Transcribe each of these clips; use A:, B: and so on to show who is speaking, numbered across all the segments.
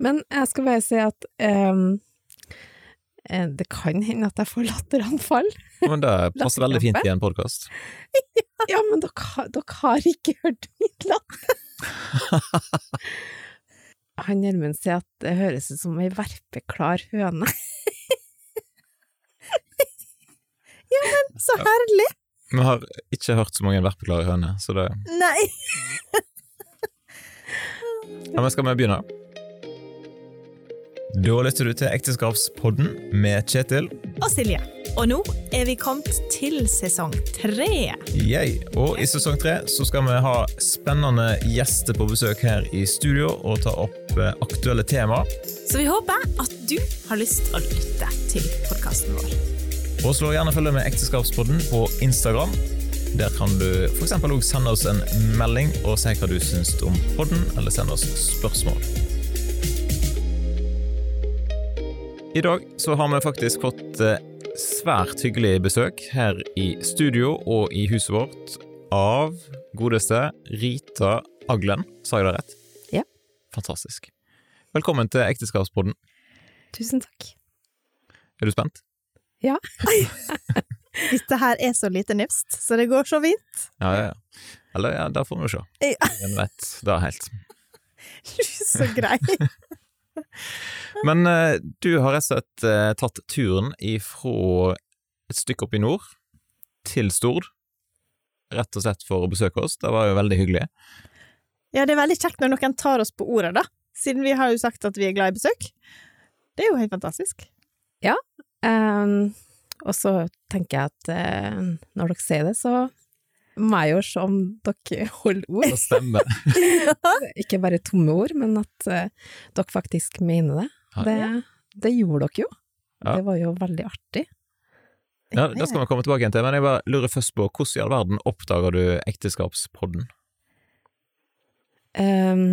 A: Men jeg skal bare si at ehm, eh, det kan hende at jeg får latteranfall.
B: Men det passer veldig fint i en podkast.
A: Ja, men dere, har- dere har ikke hørt mitt latter. Han Gjermund sier at det høres ut som ei verpeklar høne.
C: Så herlig!
B: Vi har ikke hørt så mange verpeklare høner, så det
C: Nei!
B: Ja, men skal vi begynne? Da lytter du til Ekteskapspodden med Kjetil,
C: Og Silje. Og nå er vi kommet til sesong tre.
B: jeg. Og i sesong tre så skal vi ha spennende gjester på besøk her i studio og ta opp eh, aktuelle temaer.
C: Så vi håper at du har lyst å lytte til podkasten vår.
B: Og slå gjerne følge med Ekteskapspodden på Instagram. Der kan du f.eks. også sende oss en melding og si hva du syns om podden, eller sende oss spørsmål. I dag så har vi faktisk fått eh, svært hyggelig besøk her i studio og i huset vårt av godeste Rita Aglen. Sa jeg det rett?
A: Ja.
B: Fantastisk. Velkommen til Ekteskapspodden.
A: Tusen takk.
B: Er du spent?
D: Dette her er så lite nifst, så det går så fint.
B: Ja, ja, ja. Eller ja, det får vi se.
D: Ja.
B: Ingen vet det helt.
D: Så grei.
B: Men eh, du har rett og slett eh, tatt turen ifra et stykke opp i nord til Stord, rett og slett for å besøke oss. Det var jo veldig hyggelig.
D: Ja, det er veldig kjekt når noen tar oss på ordet, da. Siden vi har jo sagt at vi er glad i besøk. Det er jo helt fantastisk.
A: Ehm, og så tenker jeg at eh, når dere sier det, så må jeg jo se om dere holder ord.
B: Det stemmer.
A: Ikke bare tomme ord, men at eh, dere faktisk mener det.
B: Ja.
A: Det, det gjorde dere jo.
B: Ja.
A: Det var jo veldig artig.
B: Ja, det skal vi komme tilbake igjen til, men jeg bare lurer først på hvordan i all verden oppdager du ekteskapspodden?
A: Ehm,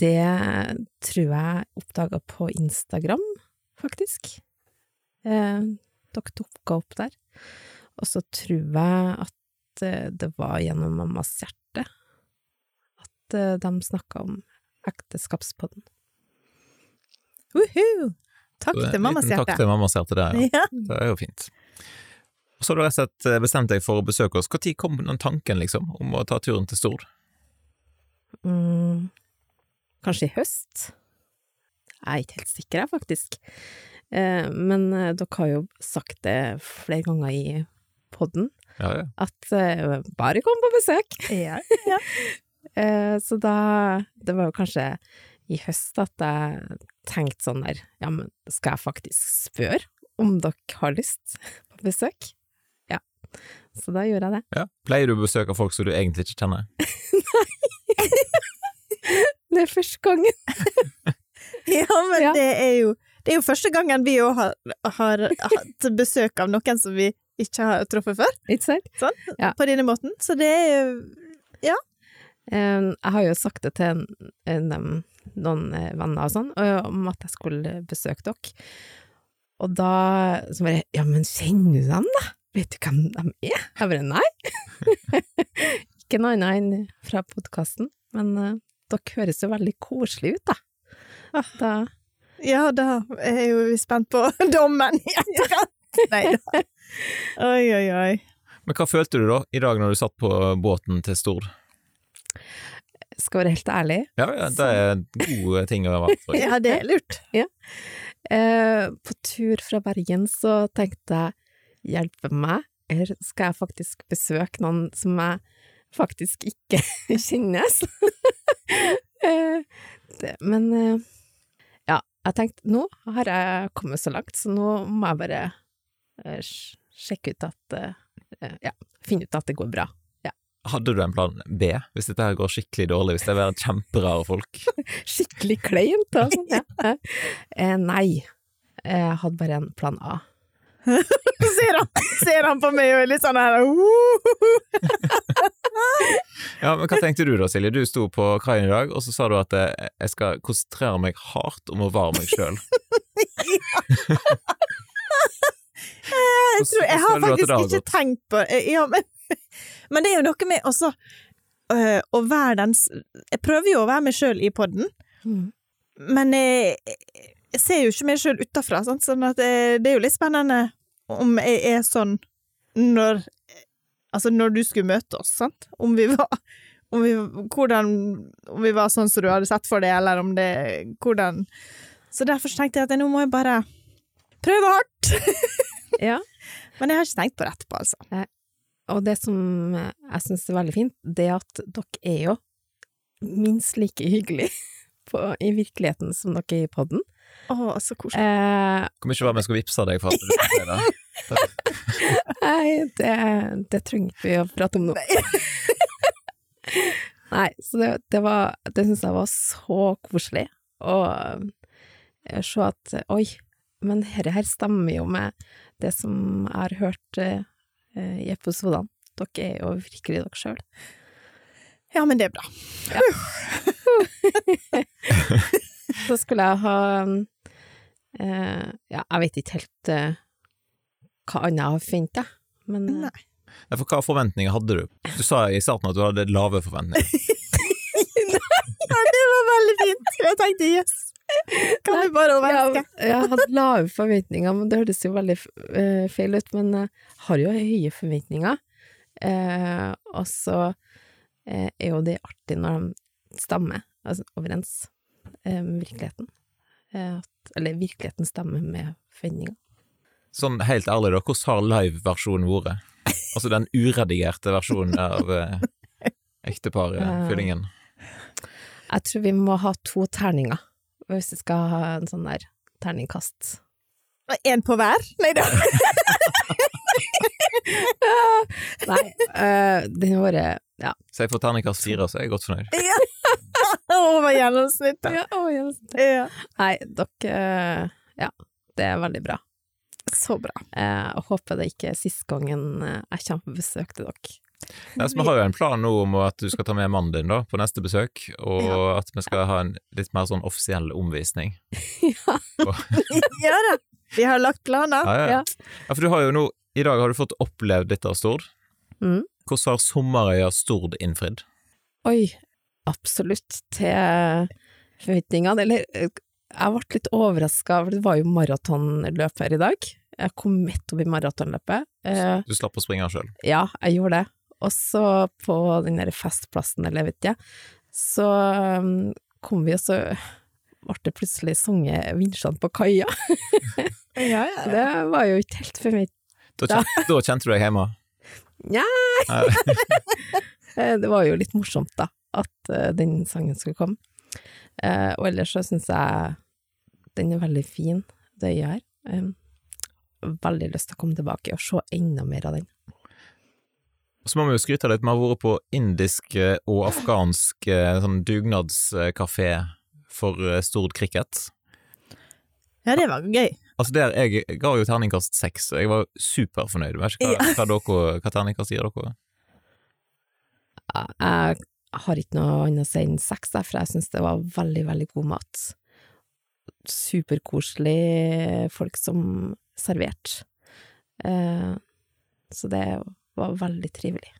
A: det tror jeg oppdaga på Instagram, faktisk. Ehm, dere dukka opp der. Og så tror jeg at eh, det var gjennom mammas hjerte at eh, de snakka om ekteskapspodden.
D: Uhu! Takk
B: Så en
D: til mammas
B: eh, liten
D: hjerte.
B: Takk til mammas hjerte der, ja.
D: Ja.
B: Det er jo fint. Og så har du rett og slett eh, bestemt deg for å besøke oss. Når kom den tanken, liksom, om å ta turen til Stord?
A: Mm, kanskje i høst? Jeg er ikke helt sikker, jeg, faktisk. Eh, men eh, dere har jo sagt det flere ganger i podden,
B: Ja, ja.
A: at eh, bare kom på besøk!
D: Ja.
A: Eh, så da Det var jo kanskje i høst at jeg tenkte sånn der Ja, men skal jeg faktisk spørre om dere har lyst på besøk? Ja. Så da gjorde jeg det.
B: ja. Pleier du å besøke folk som du egentlig ikke kjenner?
A: Det er første gangen.
D: ja, men
A: Ja.
D: det er jo Det er jo første gangen vi òg har, har hatt besøk av noen som vi ikke har truffet før,
A: Ikke sant? Ja.
D: på denne måten. Så det er jo
A: Eh, Jeg har jo sagt det til en- en- dem- noen eh, venner og sånn, og- om at jeg skulle besøke dere. Og da så bare Ja, men kjenner du dem, da? Vet du hvem de er? Jeg bare nei. Ikke noe annet enn fra podkasten, men eh, dere høres jo veldig koselige ut, da. da
D: Ja, da er jo vi spent på dommen i etterkant. Nei da. Oi, oi, oi.
B: Men hva følte du da, i dag når du satt på båten til Stord?
A: skal jeg være helt ærlig,
B: Ja, ja det er gode ting å være for.
D: Ja, det er lurt.
A: Eh, på tur fra Bergen så tenkte jeg hjelpe meg, eller skal jeg faktisk besøke noen som jeg faktisk ikke kjenner? Så, eh, det, men eh, ja, jeg tenkte nå har jeg kommet så langt, så nå må jeg bare eh, sj- sjekke ut at eh, eh, Ja, finne ut at det går bra.
B: Hadde du en plan B, hvis dette her går skikkelig dårlig, hvis det er kjemperare folk?
A: Skikkelig kleint, da. sånn, Ja. Eh, nei, jeg hadde bare en plan A.
D: Ser han, ser han på meg og er litt sånn her uh,
B: Ja, men Hva tenkte du da, Silje? Du sto på kaien i dag, og så sa du at eh, jeg skal konsentrere meg hardt om å være meg sjøl.
D: Jeg tror jeg har
B: Hvordan føler du at det
D: faktisk
B: har
D: ikke
B: gått?
D: tenkt på eh, ja, men, men det er jo noe med
A: Mm.
D: også eh, å være den s- Jeg prøver jo å være meg sjøl i poden, Men jeg, jeg ser jo ikke meg sjøl utafra, sant? sånn at eh, det er jo litt spennende om jeg er sånn når Altså, når du skulle møte oss, sant? Om vi var om vi, hvordan, om vi var sånn som du hadde sett for deg, eller om det Hvordan Så derfor så tenkte jeg at nå må jeg bare prøve hardt!
A: Ja.
D: Men jeg har ikke tenkt på det etterpå, altså.
A: Og det som jeg syns er veldig fint, det er at dere er jo minst like hyggelig på, i virkeligheten som dere er i podden.
D: Å, så koselig.
A: Eh,
B: Kommer ikke være med og skal vippse deg for at du er det.
A: Nei, det, det trenger ikke vi å prate om nå. Nei, så det, det var Det syns jeg var så koselig å eh, se at Oi, men dette her stemmer jo med det som jeg har hørt eh, eh, i episodene. Dere er jo virkelig dere sjøl.
D: Ja, men det er bra.
A: Så skulle jeg ha eh, Ja, jeg vet ikke helt eh, hva annet jeg har forventa, men eh,
D: Nei.
B: Ja, For hva forventninger hadde du? Du sa i starten at du hadde lave forventninger.
D: Ja, det var veldig fint. Jeg tenkte yes. Kan vi bare overraske?
A: Ja, jeg hadde lave forventninger, men det hørtes jo veldig eh, feil ut. Men jeg har jo høye forventninger. Eh, og så eh, er jo det artig når de stemmer altså, overens eh, med virkeligheten. Eh, at, eller virkeligheten stemmer med forventninger.
B: Sånn helt ærlig, da, hvordan har live-versjonen vært? Altså den uredigerte versjonen av eh, ekteparfyllingen.
A: Jeg tror vi må ha to terninger hvis vi skal ha en sånn der terningkast.
D: En på hver? Nei da.
A: Nei, eh, den har vært Ja.
B: Så jeg får terningkast fire, så er jeg godt fornøyd.
D: Over gjennomsnittet.
A: ja å, ja.
D: Ja.
A: Nei, dere eh, Ja, det er veldig bra.
D: Så bra.
A: Eh, og håper det ikke er siste gangen eh, jeg kommer på besøk til dere.
B: Ja, så vi har jo en plan nå om at du skal ta med mannen din da, på neste besøk, og at vi skal ha en litt mer sånn offisiell omvisning.
D: Ja da. Vi har lagt planer.
B: Ja, ja. ja.
A: Ja.
B: ja for du har jo nå, i dag har du fått opplevd litt av Stord.
A: Mm.
B: Hvordan har sommerøya Stord innfridd?
A: Oi, absolutt til forventningene. Eller eh, jeg ble litt overraska, for det var jo maratonløp her i dag. Jeg kom midt oppi maratonløpet. Eh,
B: Du slapp å springe sjøl.
A: ja, jeg gjorde det. Og så på den der festplassen, eller vet jeg, så mm, kom vi, og så ble det plutselig sunget vinsjene på kaia.
D: Ja, ja.
A: Det var jo ikke helt forventa.
B: Da, kjen- da kjente du deg hjemme.
A: Nja. Eh, Det var jo litt morsomt, da, at eh, den sangen skulle komme. Eh, og ellers så syns jeg den er veldig fin, det øyet her. Eh, veldig lyst til å komme tilbake og se enda mer av den.
B: Og Så må vi jo skryte litt. Vi har vært på indisk eh, og afghansk eh, sånn dugnadskafé for eh, Stord cricket.
D: ja, det var gøy.
B: Altså der, Jeg ga jo terningkast seks, og jeg var superfornøyd. Jeg vet ikke hva, hva, dere, hva terningkast gir dere?
A: Jeg- Jeg har ikke noe annet å si enn seks, da, for jeg syns det var veldig, veldig god mat. Superkoselig folk som serverte. Eh, så det var veldig trivelig.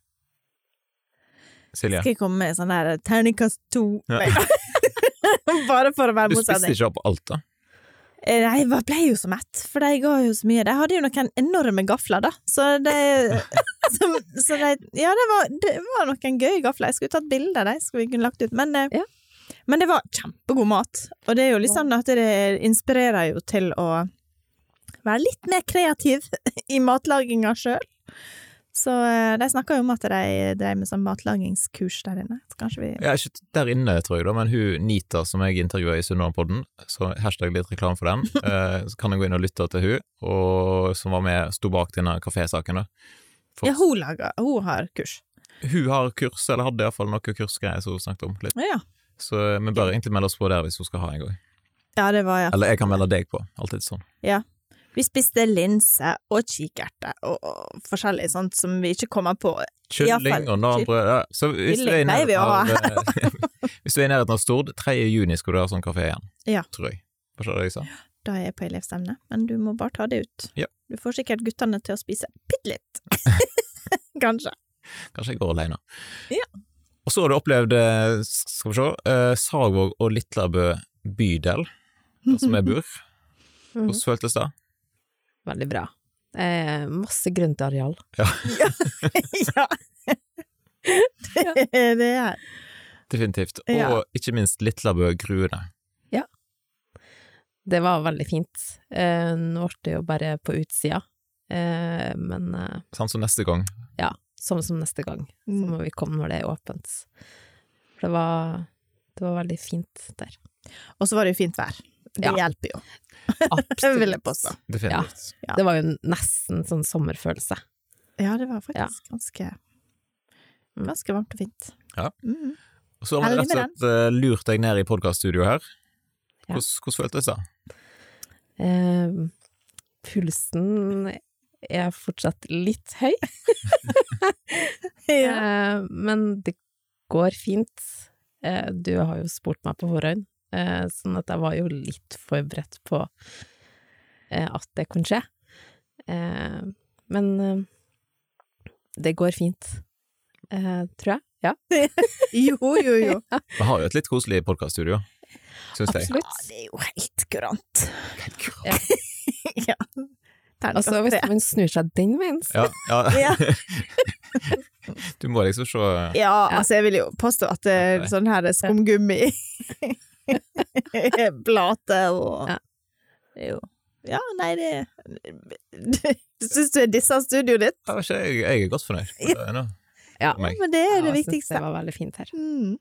B: Silje?
D: Skal jeg komme med sånn der terningkast to?
B: Ja.
D: Nei. Bare for å være
B: Du spiste
D: motsetning.
B: ikke opp alt, da?
D: Eh, Nei, jeg ble jo så mett, for de ga jo så mye. De hadde jo noen enorme gafler, da. Så det så, så de, Ja, det var, det var noen gøye gafler. Jeg skulle tatt bilde av dem, skulle vi kunne lagt ut. Men, eh,
A: Ja.
D: men det var kjempegod mat. Og det er jo litt sånn at det inspirerer jo til å være litt mer kreativ i matlaginga sjøl. Så eh, de snakka jo om at de drev med sånn matlagingskurs der inne. Så kanskje vi
B: Ja, ikke der inne, tror jeg, da, men hun Nita som jeg intervjua i Sunnmørpodden, så hashtag litt reklame for den, eh, så kan jeg gå inn og lytte til hun, og som var med, sto bak denne kafésaken, da.
D: Ja, hun lager Hun har kurs.
B: Hun har kurs, eller hadde iallfall noe kursgreier som hun snakket om litt,
D: Ja,
B: så eh, vi bør egentlig melde oss på der hvis hun skal ha en gang.
D: ja det var ja.
B: Eller jeg kan melde deg på, alltid sånn.
D: Vi spiste linse og kikerte og, og forskjellig sånt som vi ikke kommer på.
B: Kylling
D: Iallfall.
B: og nanbrød, ja. Så hvis du er i
D: Kylling pleier vi
B: nærheten
D: å
B: av, eh, hvis du er i nærheten av Stord, 3. juni skal du ha sånn kafé igjen,
D: Ja.
B: tror jeg. Hva sa du jeg sa?
D: Da er jeg på elevstemne, men du må bare ta det ut.
B: Ja.
D: Du får sikkert guttene til å spise bitte litt. Kanskje.
B: Kanskje jeg går alene.
D: Ja.
B: Og så har du opplevd, eh, skal vi se, eh, Sagvåg og Litlabø bydel, der som jeg bor.
D: Mhm.
B: Hvordan føltes det?
A: Veldig bra. Eh, masse grøntareal.
D: ja. det er det her.
B: Definitivt. Og
D: Ja.
B: ikke minst Litlabø gruene.
A: Det var veldig fint. Eh, nå ble det jo bare på utsida, eh, men eh,
B: Sånn som neste gang.
A: samme som neste gang. Så
D: Mm.
A: må vi komme når det er åpent. For det var, det var veldig fint der.
D: Og så var det jo fint vær. Det
A: Ja.
D: hjelper jo,
A: Absolutt.
D: vil jeg påstå.
B: Definitivt.
D: Ja.
A: Det var jo nesten sånn sommerfølelse.
D: Ja, Mm. det var faktisk ganske Ganske varmt og fint.
B: Ja.
D: Mm.
B: Og Så har vi rett og
D: Heldig med
B: slett eh, lurt deg ned i podcaststudioet her.
A: Ja.
B: Hvordan, hvordan føltes det?
A: Eh, pulsen er fortsatt litt høy,
D: Ja.
A: eh, men det går fint. Eh, du har jo spurt meg på forhånd, eh, sånn at jeg var jo litt forberedt på eh, at det kunne skje. Eh, men eh, det går fint, eh, tror jeg. Ja,
D: Jo, jo, jo.
B: Vi har jo et litt koselig podcaststudio, syns jeg.
D: Ja,
A: absolutt.
D: det er jo helt kurant.
A: Ja.
D: ja. Terningkast
A: Altså, hvis
D: tre.
A: man snur seg den veien, så
B: Ja, ja.
D: Ja.
B: Du må liksom se
D: Ja, altså, jeg vil jo påstå at eh,
B: Ok.
D: sånn her skumgummi Plate og
A: Ja.
D: Jo. Ja, nei, det Du syns du er dissa studioet ditt?
B: Jeg, vet ikke, jeg, jeg er godt fornøyd. med det nå.
A: Ja.
B: Meg.
D: Men det er det
A: Ja, jeg synes Det
D: viktigste.
A: var veldig fint her.
D: Mm.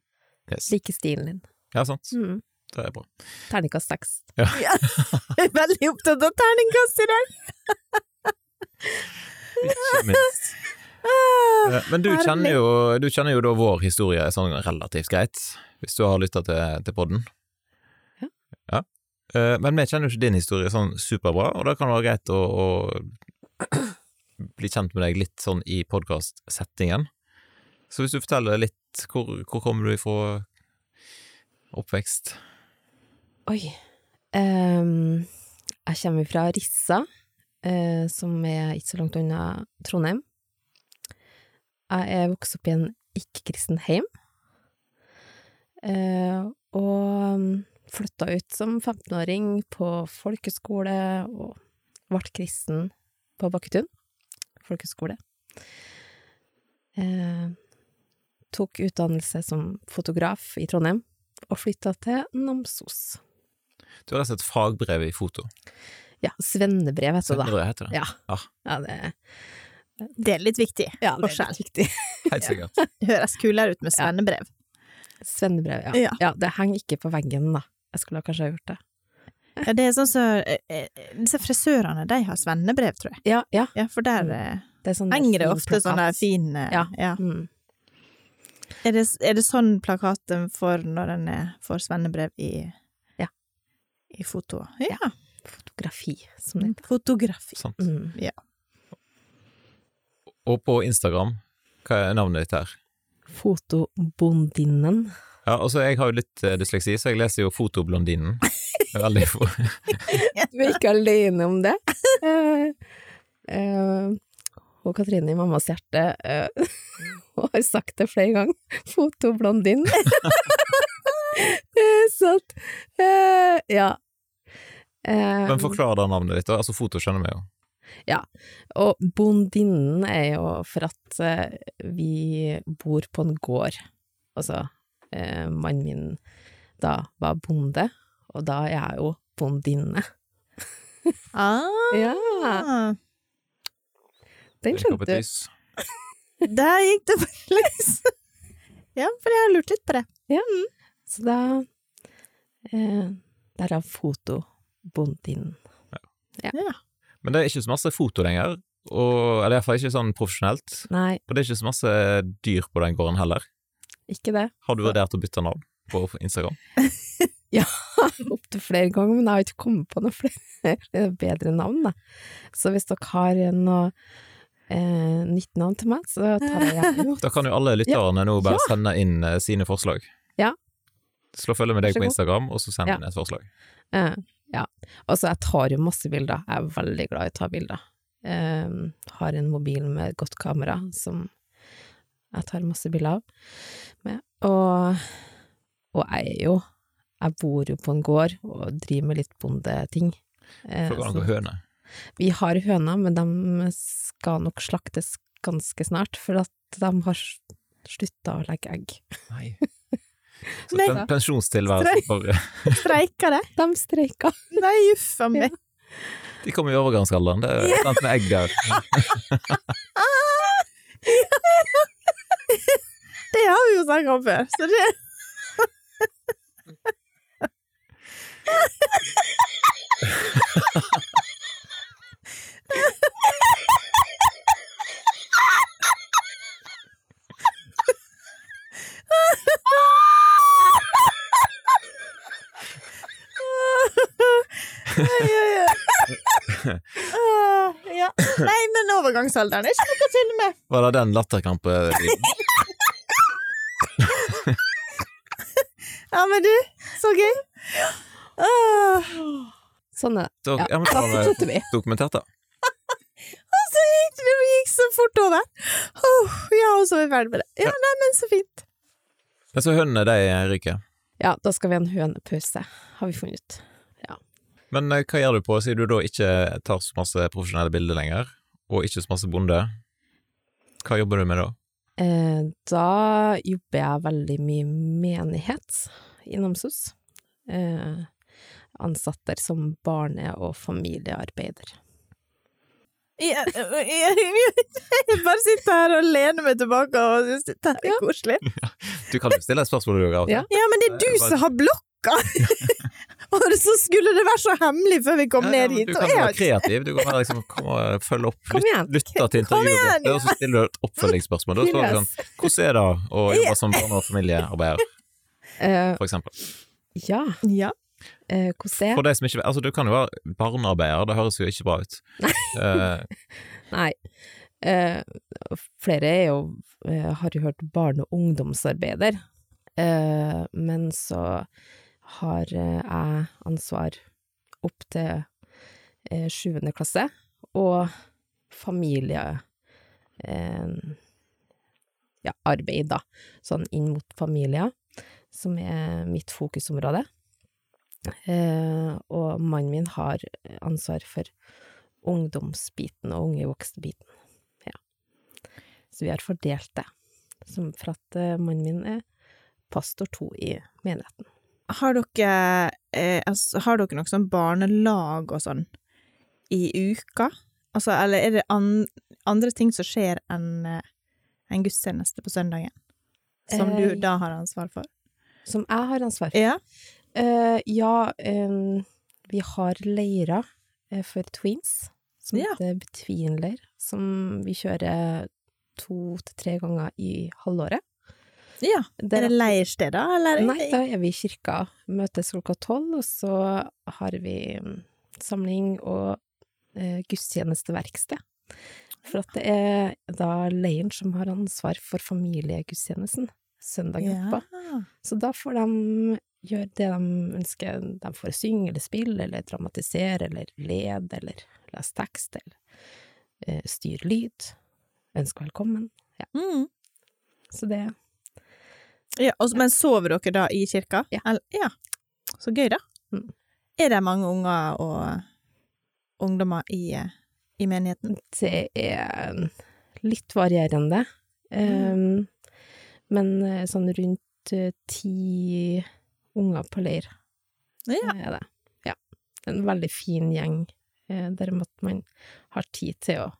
B: Yes.
A: Liker stilen din.
B: Ja, sant.
A: Mm.
B: Det er bra.
A: Terningkast seks.
D: Ja. Jeg er veldig opptatt av terningkast i dag!
B: Ikke minst.
A: Ah,
B: Eh, Men du kjenner, jo, du kjenner jo da vår historie sånn relativt greit, hvis du har lytta til, til podden.
A: Ja.
B: Ja. Eh, Men vi kjenner jo ikke din historie sånn superbra, og da kan det være greit å, å bli kjent med deg litt sånn i podkast-settingen. Så hvis du forteller litt, hvor, hvor kommer du ifra oppvekst?
A: Oi. Ehm, jeg kommer fra Rissa, eh, som er ikke så langt unna Trondheim. Jeg er vokst opp i en ikke-kristen heim, eh, og mm, flytta ut som 15-åring på folkeskole, og ble kristen på Bakketun folkeskole. Eh, tok utdannelse som fotograf i Trondheim, og flytta til Namsos.
B: Du har rett og slett fagbrev i foto.
A: Ja, svennebrev heter det da.
B: Svennebrev heter det.
A: Ja.
B: Ja.
A: Ja, det,
D: Det er litt viktig.
A: ja, det er
D: Forskjell.
A: litt viktig.
B: Helt sikkert.
D: Det høres kulere ut med svennebrev.
A: Svennebrev, ja.
D: Ja.
A: ja. det henger ikke på veggen, da. Jeg skulle kanskje ha gjort det.
D: Ja, det er sånn så, eh, eh, disse frisørene, de har svennebrev, tror jeg.
A: Ja, ja.
D: Ja, for der eh,
A: Det er sånn
D: henger det
A: fin
D: ofte sånn der
A: plakat.
D: fin eh,
A: Ja.
D: ja.
A: Mm.
D: Er, det, er det sånn plakat en får når en eh, får svennebrev i,
A: Ja.
D: i foto? Ja.
A: Fotografi, som
D: Mm.
A: det heter.
D: Fotografi.
B: Sant.
A: Mm.
B: Og på Instagram, hva er navnet ditt her?
A: Fotobondinnen.
B: Ja, altså jeg har jo litt eh, dysleksi, så jeg leser jo Fotoblondinen. Veldig få.
A: Du er ikke alene om det. Eh, eh, og Katrine i Mammas hjerte eh, hun har sagt det flere ganger. Fotoblondin. Eh, Så at eh, Ja. Eh,
B: Men forklar da navnet ditt, da. altså foto skjønner vi jo.
A: og bondinnen er jo for at eh, vi bor på en gård. Altså, eh, mannen min da var bonde, og da er jeg jo bondinne.
D: Ah,
A: Ja, den
B: Drikk
A: skjønte
B: opp et
A: du.
B: lys.
D: der gikk det faktisk! ja, for jeg har lurt litt på det.
A: Så da eh, Derav fotobondinnen.
B: Men det er ikke så masse foto lenger, og, eller iallfall ikke sånn profesjonelt.
A: Nei,
B: Og det er ikke så masse dyr på den gården heller.
A: ikke det.
B: Har du vurdert å bytte navn på Instagram?
A: Opptil flere ganger, men jeg har ikke kommet på noe flere bedre navn, da. Så hvis dere har noe eh, nytt navn til meg, så tar jeg gjerne imot.
B: Da kan jo alle lytterne nå bare sende inn eh, sine forslag.
A: Ja.
B: Slå følge med
A: Vær så
B: deg på
A: god.
B: Instagram, og så send
A: Ja.
B: inn et forslag.
A: Eh, ja. Altså, jeg tar jo masse bilder. Jeg er veldig glad i å ta bilder. Eh, har en mobil med godt kamera som jeg tar masse bilder av med. Og, og jeg er jo jeg bor jo på en gård og driver med litt bondeting. Eh,
B: For å
A: så-
B: angå høne.
A: vi har høner, men de skal nok slaktes ganske snart, for at de har slutta å legge egg.
B: Nei. Så
D: Nei.
B: pen pensjonstilværelse for
D: Streika det?
A: De streika.
D: Nei, uff a meg.
B: De kommer i overgangsalderen, det er sant med egg der.
D: Det har vi jo snakket om før, så det Oi, oi, oi. Ah, ja. Nei, men overgangsalderen er ikke noe å tulle med.
B: Var det den eh, latterkampen?
D: Ja, men du, så gøy. Ah. Åh,
A: Sånn er det.
B: Da-
A: Ja,
B: Ja, men
A: da
B: da har
A: fortsetter vi.
B: vi dokumentert, da.
D: altså, gikk det gikk så fort over. Åh, ja, og så er vi ferdig med det. Ja, nei, men så fint.
B: Men så hønene, de ryker.
A: Ja, da skal vi ha en hønepause, har vi funnet ut.
B: Men eh, hva gjør du på, siden du da ikke tar så masse profesjonelle bilder lenger, og ikke så masse bonde? Hva jobber du med da?
A: Eh, da jobber jeg veldig mye menighet i Namsos. Eh, ansatt der som barne- og familiearbeider.
D: Jeg, jeg, jeg, jeg bare sitter her og lener meg tilbake og synes dette her
A: Ja.
D: er koselig.
B: Du kan jo stille et spørsmål, du òg, av og
A: Ja.
B: til.
D: Ja, men det er du som har blokka! Og så skulle det være så hemmelig før vi kom
B: Ja, ja,
D: ned
B: men
D: hit.
B: Du
D: og
B: kan
D: jeg har
B: være
D: ikke-
B: kreativ, du kan være liksom kom og følge opp,
A: Kom
B: lyt-
A: igjen.
B: lytte til
D: Kom igjen,
B: intervjuobjektet, og så stiller du et oppfølgingsspørsmål. Da står det sånn Hvordan er det å jobbe som barne- og familiearbeider,
A: Eh,
B: for eksempel?
A: ja,
D: Ja.
A: eh, hvordan er
B: For de som ikke Altså, du kan jo være barnearbeider, det høres jo ikke bra ut. Eh,
A: Nei. Eh, flere er jo, eh, har jo hørt barne- og ungdomsarbeider, eh, men så har eh, jeg ansvar opp til eh, sjuende klasse, og familie... Eh, ja, arbeid, da. Sånn inn mot familier, som er mitt fokusområde. Eh, og mannen min har ansvar for ungdomsbiten og unge voksne-biten. Ja. Så vi har fordelt det, som for at eh, mannen min er pastor to i menigheten.
D: Har dere, eh, altså, har dere noe sånn barnelag og sånn i uka? Altså, eller er det an, andre ting som skjer enn eh, en gudstjeneste på søndagen? Som
A: Eh,
D: du da har ansvar for?
A: Som jeg har ansvar for.
D: Ja.
A: Eh, ja, eh, vi har leirer eh, for tweens, som
D: Ja.
A: heter Between-leir, som vi kjører to til tre ganger i halvåret.
D: ja.
A: Der-
D: Er det leirsteder, eller?
A: Nei, da er vi i kirka, møtes klokka tolv, og så har vi mm, samling og eh, gudstjenesteverksted. For at det er da leiren som har ansvar for familiegudstjenesten søndagen etterpå.
D: Ja.
A: Så da får de gjøre det de ønsker. De får synge eller spille eller dramatisere eller lede eller lese tekst eller eh, styre lyd. Ønske velkommen.
D: Mm.
A: Så det
D: Ja, og, men sover dere da i kirka?
A: Ja.
D: Eller, ja. Så gøy, da.
A: Mm.
D: Er det mange unger og ungdommer i, eh, i menigheten?
A: Det er litt varierende.
D: Mm.
A: Eh, men eh, sånn rundt eh, ti unger på leir
D: Ja.
A: er det. Ja. Det er En veldig fin gjeng, eh, der med at man har tid til å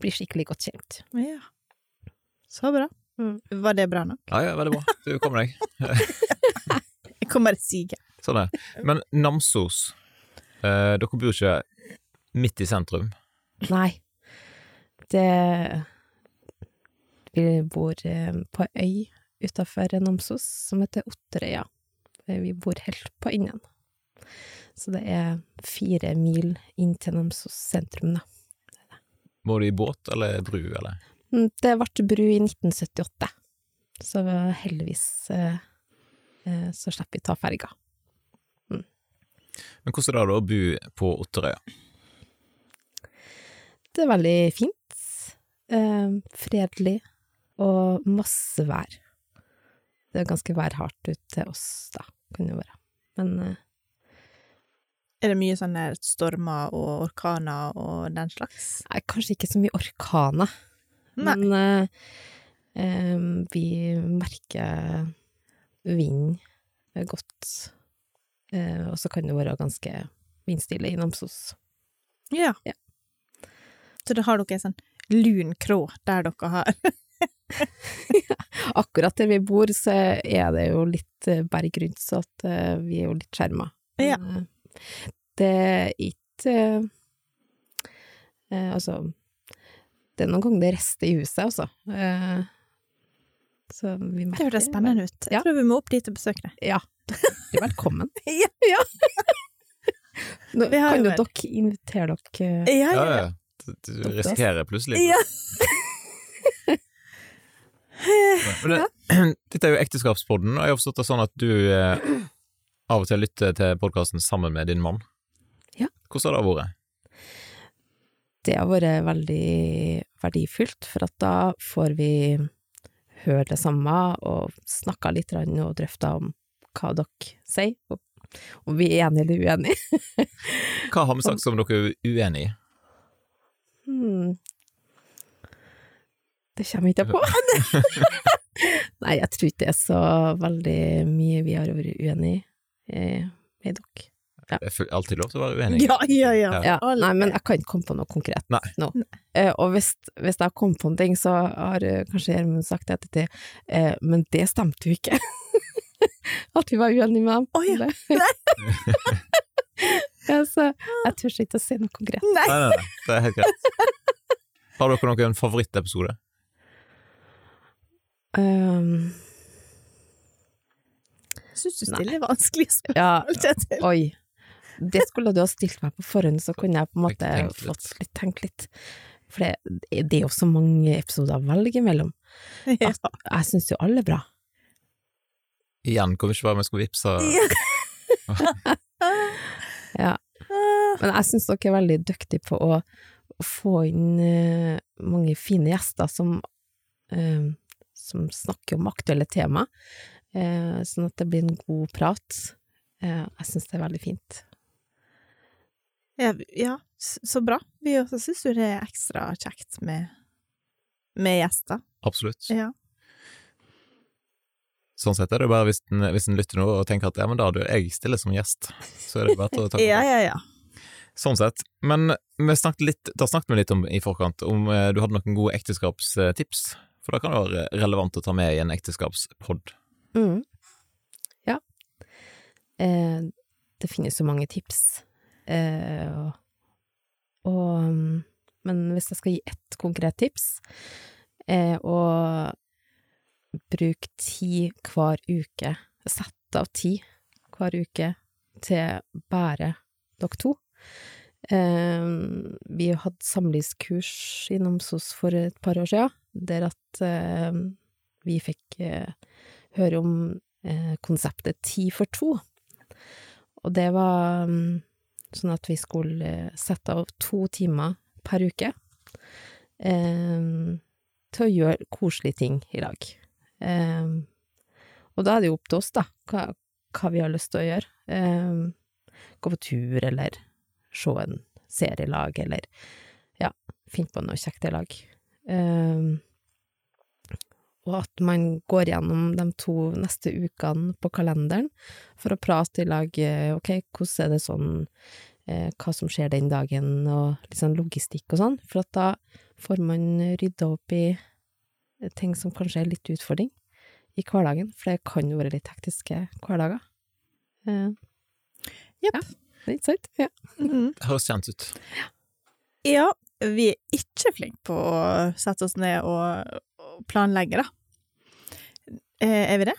A: bli skikkelig godt kjent.
D: ja. Så bra.
A: Mm.
D: Var det bra nok?
B: ja, ja, veldig bra. Du kommer deg.
D: Jeg kommer bare sige.
B: Sånn er det. Men Namsos, eh, dere bor ikke midt i sentrum.
A: Nei, det Vi bor eh, på ei øy utafor Namsos som heter Otterøya. Eh, Vi bor helt på innen. Så det er fire mil inn til Namsos sentrum, da.
B: Må du i båt eller bru, eller?
A: Mm, Det ble bru i 1978, så heldigvis eh, eh, så slipper vi ta ferga.
B: Men hvordan er det da å bo på Otterøya?
A: Det er veldig fint, eh, fredelig og masse vær. Det er ganske værhardt ute til oss, da, kan det jo være. men eh,
D: Er det mye sånne stormer og orkaner og den slags?
A: nei, kanskje ikke så mye orkaner.
D: Nei.
A: Men eh, eh, vi merker vind eh, godt. Eh, og så kan det være ganske vindstille i Namsos.
D: Ja.
A: Ja.
D: Så da har dere en sånn lun krå der dere har
A: Akkurat der vi bor, så er det jo litt eh, berg rundt, så at eh, vi er jo litt skjerma.
D: Ja.
A: Men, eh, Det er ikke eh, eh, Altså, det er noen ganger det rester i huset, altså. Eh, så vi
D: Det
A: merker
D: høres spennende ut. Jeg
A: Ja.
D: tror vi må opp dit og besøke det.
A: Ja. Hjertelig velkommen.
D: Ja.
A: Nå
D: Vi har
A: kan
D: jo
A: jo
D: vært-
A: dere invitere dere eh,
D: Ja,
B: Ja, ja. Du, du
A: Doktor.
B: risikerer plutselig
D: Ja.
B: Men det, Dette er jo ekteskapspodden, og jeg har forstått det sånn at du eh, av og til lytter til podkasten sammen med din mann.
A: Ja.
B: Hvordan har det vært?
A: Det har vært veldig verdifullt, for at da får vi høre det samme og snakke litt grann og drøfte om hva dere sier, og om vi er enige eller uenige.
B: Hva har vi sagt som dere er uenig i?
A: Hmm. Det kommer jeg ikke på. Nei, jeg tror ikke det er så veldig mye vi har vært uenige i eh, med dere.
B: Det er full- alltid lov til å være uenig.
D: ja, ja. ja.
B: Ja.
A: Ja,
D: Alt.
A: nei, men jeg kan ikke komme på noe konkret
B: Nei.
A: nå. Eh, og hvis, hvis jeg kom på en ting, så har eh, kanskje Gjermund sagt det ettertid, eh, men det stemte jo ikke. At vi var uenige med dem.
D: Å ja.
A: Det- ja, så jeg tør ikke å si noe konkret.
D: Nei.
B: Nei, nei, nei, det er helt greit. Har dere noen favorittepisode?
A: Um,
D: Jeg syns du stiller vanskelige
A: ja,
D: spørsmål, Kjetil.
A: oi. Det skulle du ha stilt meg på forhånd, så kunne jeg på en
B: Jeg
A: måte
B: tenkt litt.
A: fått litt tenkt litt. For det, det er jo så mange episoder å velge mellom.
D: Ja.
A: Jeg syns jo alle er bra.
B: Igjen, kom ikke bare vi skulle vippse.
A: Ja. Men jeg syns dere er veldig dyktige på å få inn eh, mange fine gjester som, eh, som snakker om aktuelle tema, eh, sånn at det blir en god prat. Eh, jeg syns det er veldig fint.
D: Ja, ja, s- så bra. Vi også syns jo det er ekstra kjekt med, med gjester.
B: Absolutt.
D: Ja.
B: Sånn sett er det jo bare hvis en, hvis en lytter nå og tenker at ja, men da du, jeg stiller som gjest, så er det bare til å takke.
D: ja, ja, ja.
B: Sånn sett. Men vi snakket litt, da snakket vi litt om i forkant om eh, du hadde noen gode ekteskapstips. For det kan jo være relevant å ta med i en ekteskapspod.
A: Mm. Ja. Eh, det finnes så mange tips. Eh, og, og um, Men hvis jeg skal gi ett konkret tips, eh, og bruk tid hver uke, sett av tid hver uke til bare dere to. Eh, vi hadde samlivskurs i Namsos for et par år siden, der at eh, vi fikk eh, høre om eh, konseptet ti for to. Og det var mm, sånn at vi skulle eh, sette av to timer per uke eh, til å gjøre koselige ting i lag. Eh, og da er det jo opp til oss, da, hva, hva vi har lyst til å gjøre. Eh, gå på tur, eller se en serie i lag, eller ja, finne på noe kjekt i lag. Eh, og at man går gjennom de to neste ukene på kalenderen for å prate i lag eh, ok, hvordan er det sånn, eh, hva som skjer den dagen, og litt sånn logistikk og sånn, for at da får man rydda opp i ting som kanskje er litt utfordring i hverdagen, for det kan jo være litt hektiske hverdager. Eh,
D: Jepp.
A: Ja, det er ikke sant? Ja.
D: Mhm.
B: Det høres kjent ut.
D: Ja, vi er ikke flinke på å sette oss ned og, og planlegge, da. Eh, er vi det?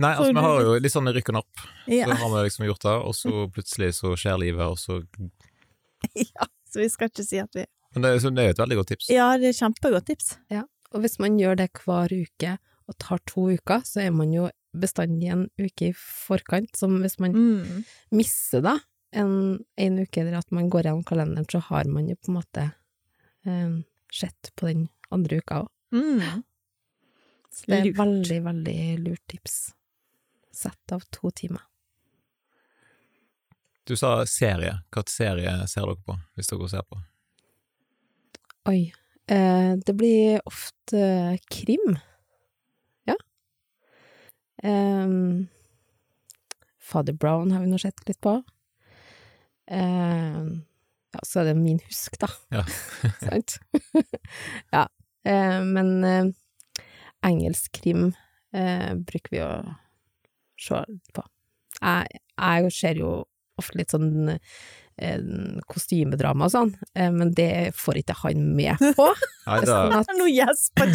B: Nei, altså
D: Får du
B: vi har jo litt sånn rykken opp. Så
D: Ja. Mm.
B: har vi liksom gjort det, og så plutselig så skjer livet, og så
D: ja. Så vi skal ikke si at vi
B: Men det, er- så det er jo et veldig godt tips.
D: Ja, det er kjempegodt tips.
A: Og hvis man gjør det hver uke og tar to uker, så er man jo bestandig en uke i forkant, som hvis man
D: Mm.
A: misse da en, en uke eller at man går gjennom kalenderen, så har man jo på en måte eh, sett på den andre uka òg.
D: Mm.
A: Det er
D: Lurt.
A: veldig, veldig lurt tips. Sett av to timer.
B: Du sa serie. Hvilken serie ser dere på, hvis dere ser på?
A: Oi. Eh, det blir ofte krim. Ja. Ehm, Father Brown har vi nå sett litt på. Ehm, ja, så er det min husk, da.
B: Ja.
A: Sant? ja. Eh, men eh, engelsk krim eh, bruker vi å se litt på. Jeg, jeg ser jo ofte litt sånn eh, kostymedrama og sånn, eh, men det får ikke han med på.
B: Nei,
A: Sånn
B: da,
A: at,
D: Nå gjesper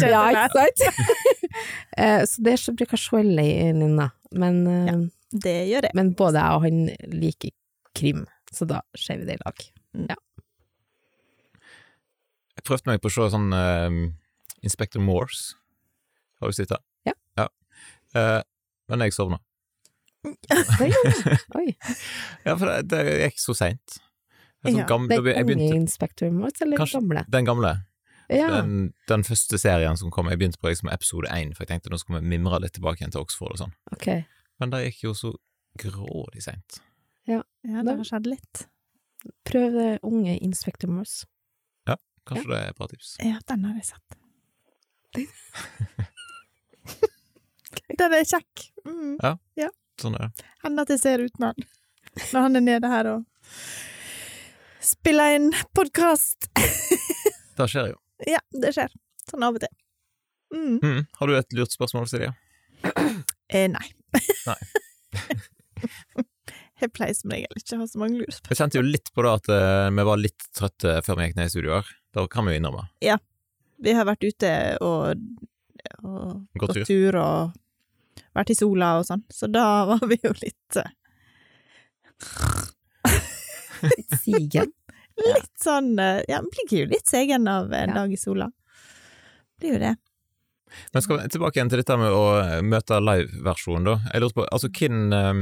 A: ja,
D: kjøttet der.
A: ikke sant? Eh, så det så bruker jeg se alene, da. Men, eh,
D: Det gjør jeg.
A: men både jeg og han liker krim, så da ser vi det i lag.
B: jeg prøvde meg på å se sånn eh, Inspector Morse. Har du sett det?
A: Ja.
B: Eh, men jeg sovna.
A: Det gjør vi. Oi.
B: Ja, for det, det gikk så seint. Sånn
D: Ja.
B: gam- da
A: Den
B: be- jeg
A: unge
B: begynte-
A: Inspector Morse, eller den
B: Kanskje-
A: gamle?
B: Den gamle.
A: Ja.
B: Den, den første serien som kom. Jeg begynte på liksom episode én, for jeg tenkte nå skulle vi mimre litt tilbake igjen til Oxford og sånn.
A: Ok.
B: Men det gikk jo så grådig seint.
D: Ja, det har skjedd litt.
A: Prøv det unge Inspector Morse.
B: Kanskje det er et bra tips.
D: Ja, den har jeg sett. den er kjekk. Mm.
B: Sånn er det.
D: Hender at jeg ser uten han. Når han er nede her og spiller inn podkast.
B: Det skjer jo.
D: Ja, det skjer. Sånn av og til. Mm.
B: Mm. Har du et lurt spørsmål, Silje?
D: Eh, nei.
B: Nei.
D: jeg pleier som regel ikke å ha så mange lur.
B: Jeg kjente jo litt på det at eh, vi var litt trøtte før vi gikk ned i studio her. Det kan vi jo innrømme.
D: Vi har vært ute og, og
B: Gått
D: gått
B: tur.
D: tur og vært i sola og sånn, så da var vi jo litt eh,
A: Sigen.
D: Litt sånn eh, Ja, man blir jo litt segen av en
A: Ja.
D: dag i sola. Blir jo det.
B: Men skal vi tilbake igjen til dette med å eh, møte liveversjonen, da. Jeg lurte på, altså hvem, eh,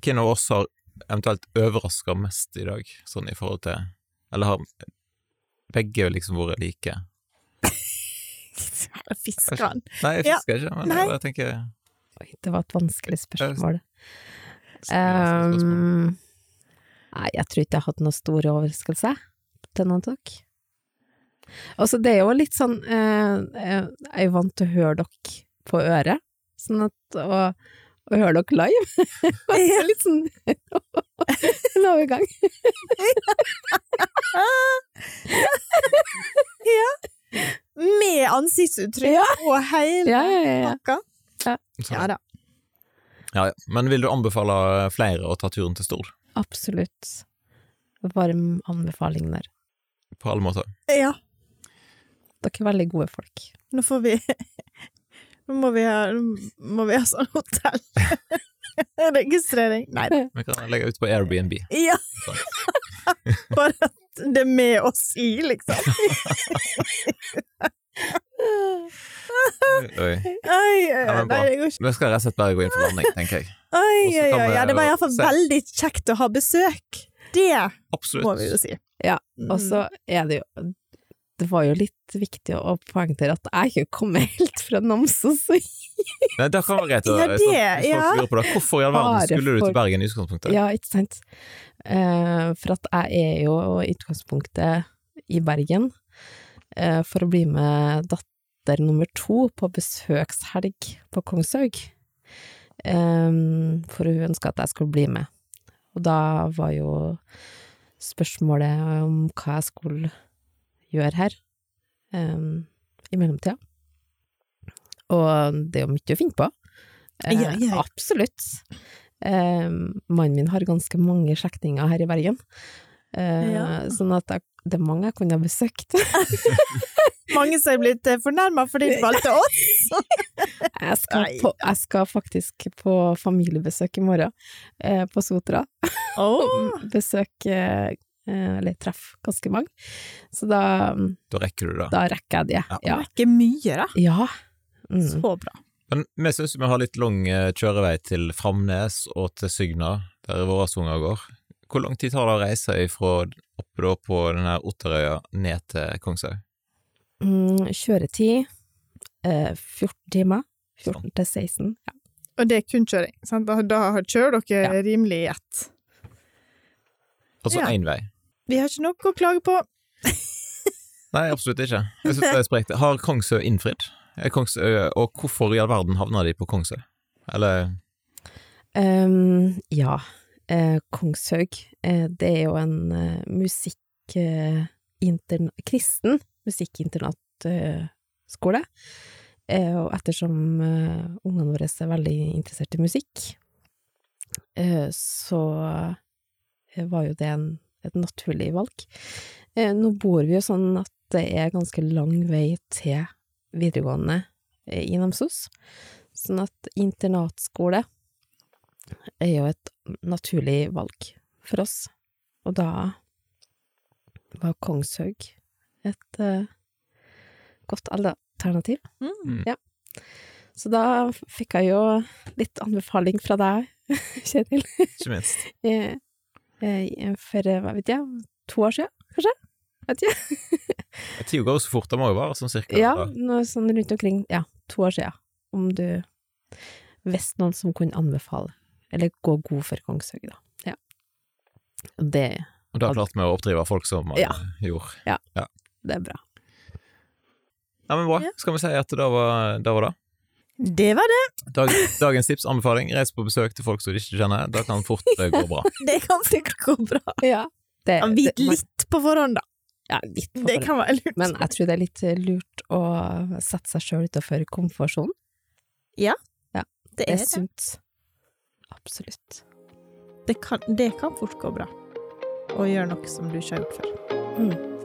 B: hvem av oss har eventuelt overraska mest i dag, sånn i forhold til Eller har begge liksom vært like?
D: Fisker han.
B: Nei, jeg
D: Ja.
B: fisker ikke, men
D: Nei.
B: jeg tenker
A: Oi, det var et vanskelig spørsmål.
D: Eh,
B: spørsmål.
A: Um, nei, jeg tror ikke jeg har hatt noen store overraskelser til noen takk. Altså, det er jo litt sånn eh, eh, Jeg er vant til å høre dere på øret, sånn at å, å høre dere live Det er litt sånn en overgang.
D: Med ansiktsuttrykk og hele
A: Ja, ja, ja, ja.
D: pakka.
B: Sånn.
D: Ja da.
B: Ja, ja. Men vil du anbefale flere å ta turen til Stord?
A: Absolutt. Varm anbefaling der.
B: På alle måter.
D: Ja,
A: Dere er veldig gode folk.
D: nå får vi Nå må vi ha, nå må vi ha sånn hotell. Registrering. Nei da.
B: Vi kan legge ut på Airbnb.
D: Ja! Bare at det er med oss i, liksom.
B: Oi, oi.
D: Oi, oi,
B: Ja,
D: oi.
B: men bra.
D: Nei, det går ikke.
B: Vi skal rett og slett bare gå inn for landing, tenker jeg.
D: Oi,
B: Og så
D: oi,
B: kan
D: oi.
B: vi
D: Ja, det var iallfall
B: se.
D: veldig kjekt å ha besøk. Det må vi jo
B: Absolutt.
D: si.
A: Ja,
D: Mm.
A: Og så er det jo Det var jo litt viktig å poengtere at jeg ikke kommer helt fra Namsos.
B: Nei, det kan være greit. å-
D: Ja, det,
B: sånn, hvis folk
D: ja.
B: lurer på det. Hvorfor i all verden
A: Bare
B: skulle du
A: for-
B: til Bergen i utgangspunktet?
A: Ja, ikke sant. Eh, for at jeg er jo i utgangspunktet i Bergen eh, for å bli med datter nummer to på besøkshelg på Kongshaug. Eh, for hun ønska at jeg skulle bli med. Og da var jo spørsmålet om hva jeg skulle gjøre her eh, i mellomtida. Og det er jo mye å finne på. Eh,
D: Ja, ja, ja.
A: Absolutt. Eh, mannen min har ganske mange slektninger her i Bergen. Eh,
D: Ja.
A: Sånn at jeg, det er mange jeg kunne ha besøkt.
D: Mange som er blitt fornærma fordi de valgte oss.
A: Jeg skal,
D: Nei.
A: på, jeg skal faktisk på familiebesøk i morgen eh, på Sotra.
D: Oh.
A: Besøk eh, eh, eller treff ganske mange. Så da,
B: Da rekker du det.
A: da rekker jeg det.
B: Ja.
A: Ja.
D: Ikke mye, da.
A: ja. Mm.
D: Så bra.
B: Men vi syns vi har litt lang eh, kjørevei til Framnes og til Sygna, der våre unger går. Hvor lang tid tar det å reise fra oppe da på den her Otterøya ned til Kongshaug?
A: Mm, kjøretid eh, 14 timer. 14 til 16. Ja.
D: Og det er kun kjøring. Sant? Da, da kjører dere
A: Ja.
D: rimelig i ett.
B: Altså
D: Ja.
B: én vei.
D: Vi har ikke noe å klage på.
B: Nei, absolutt ikke. Jeg synes det er sprekt. Har Kongsø innfridd? Er Kongsø, og hvorfor i all verden havna de på Kongsø? Eller
A: Ehm, ja, eh, Kongshaug, eh, det er jo en eh, musikk... Eh, intern, kristen musikkinternatskole. Eh, og ettersom eh, ungene våre er veldig interessert i musikk, eh, så eh, var jo det en, et naturlig valg. Eh, nå bor vi jo sånn at det er ganske lang vei til videregående eh, i Namsos, sånn at internatskole er jo et naturlig valg for oss, og da var Kongshaug et eh, godt alternativ.
B: Mm.
A: Ja. Så da f- fikk jeg jo litt anbefaling fra deg, Kjetil,
B: ikke minst?
A: eh, eh, for eh, hva vet jeg, to år siden, kanskje? Vet ikke.
B: Tida går jo så fort, det må jo være sånn cirka.
A: Ja, noe sånn rundt omkring, ja, to år siden, om du visste noen som kunne anbefale, eller gå god for Kongshaug, da. Ja. Og Det,
B: Og da klarte vi å oppdrive folk som man
A: Ja.
B: gjorde.
A: det er bra.
B: Ja, men bra.
D: Ja.
B: Skal vi si at det var det? Var det?
D: Det var det.
B: Dag, dagens tips, anbefaling, reis på besøk til folk som du ikke kjenner. Det kan fort eh, gå bra.
D: Det kan sikkert gå bra.
A: Ja. Det,
D: Ja, Vit
A: det- man-
D: litt på forhånd, da.
A: Ja, litt for
D: Det kan være lurt.
A: Men jeg tror det er litt eh, lurt å sette seg sjøl utafor komfortsonen.
D: det
A: Det
D: er
A: er
D: det.
A: sunt. Absolutt.
D: Det kan, det kan fort gå bra. Å gjøre noe som du ikke har gjort før.
A: Mm.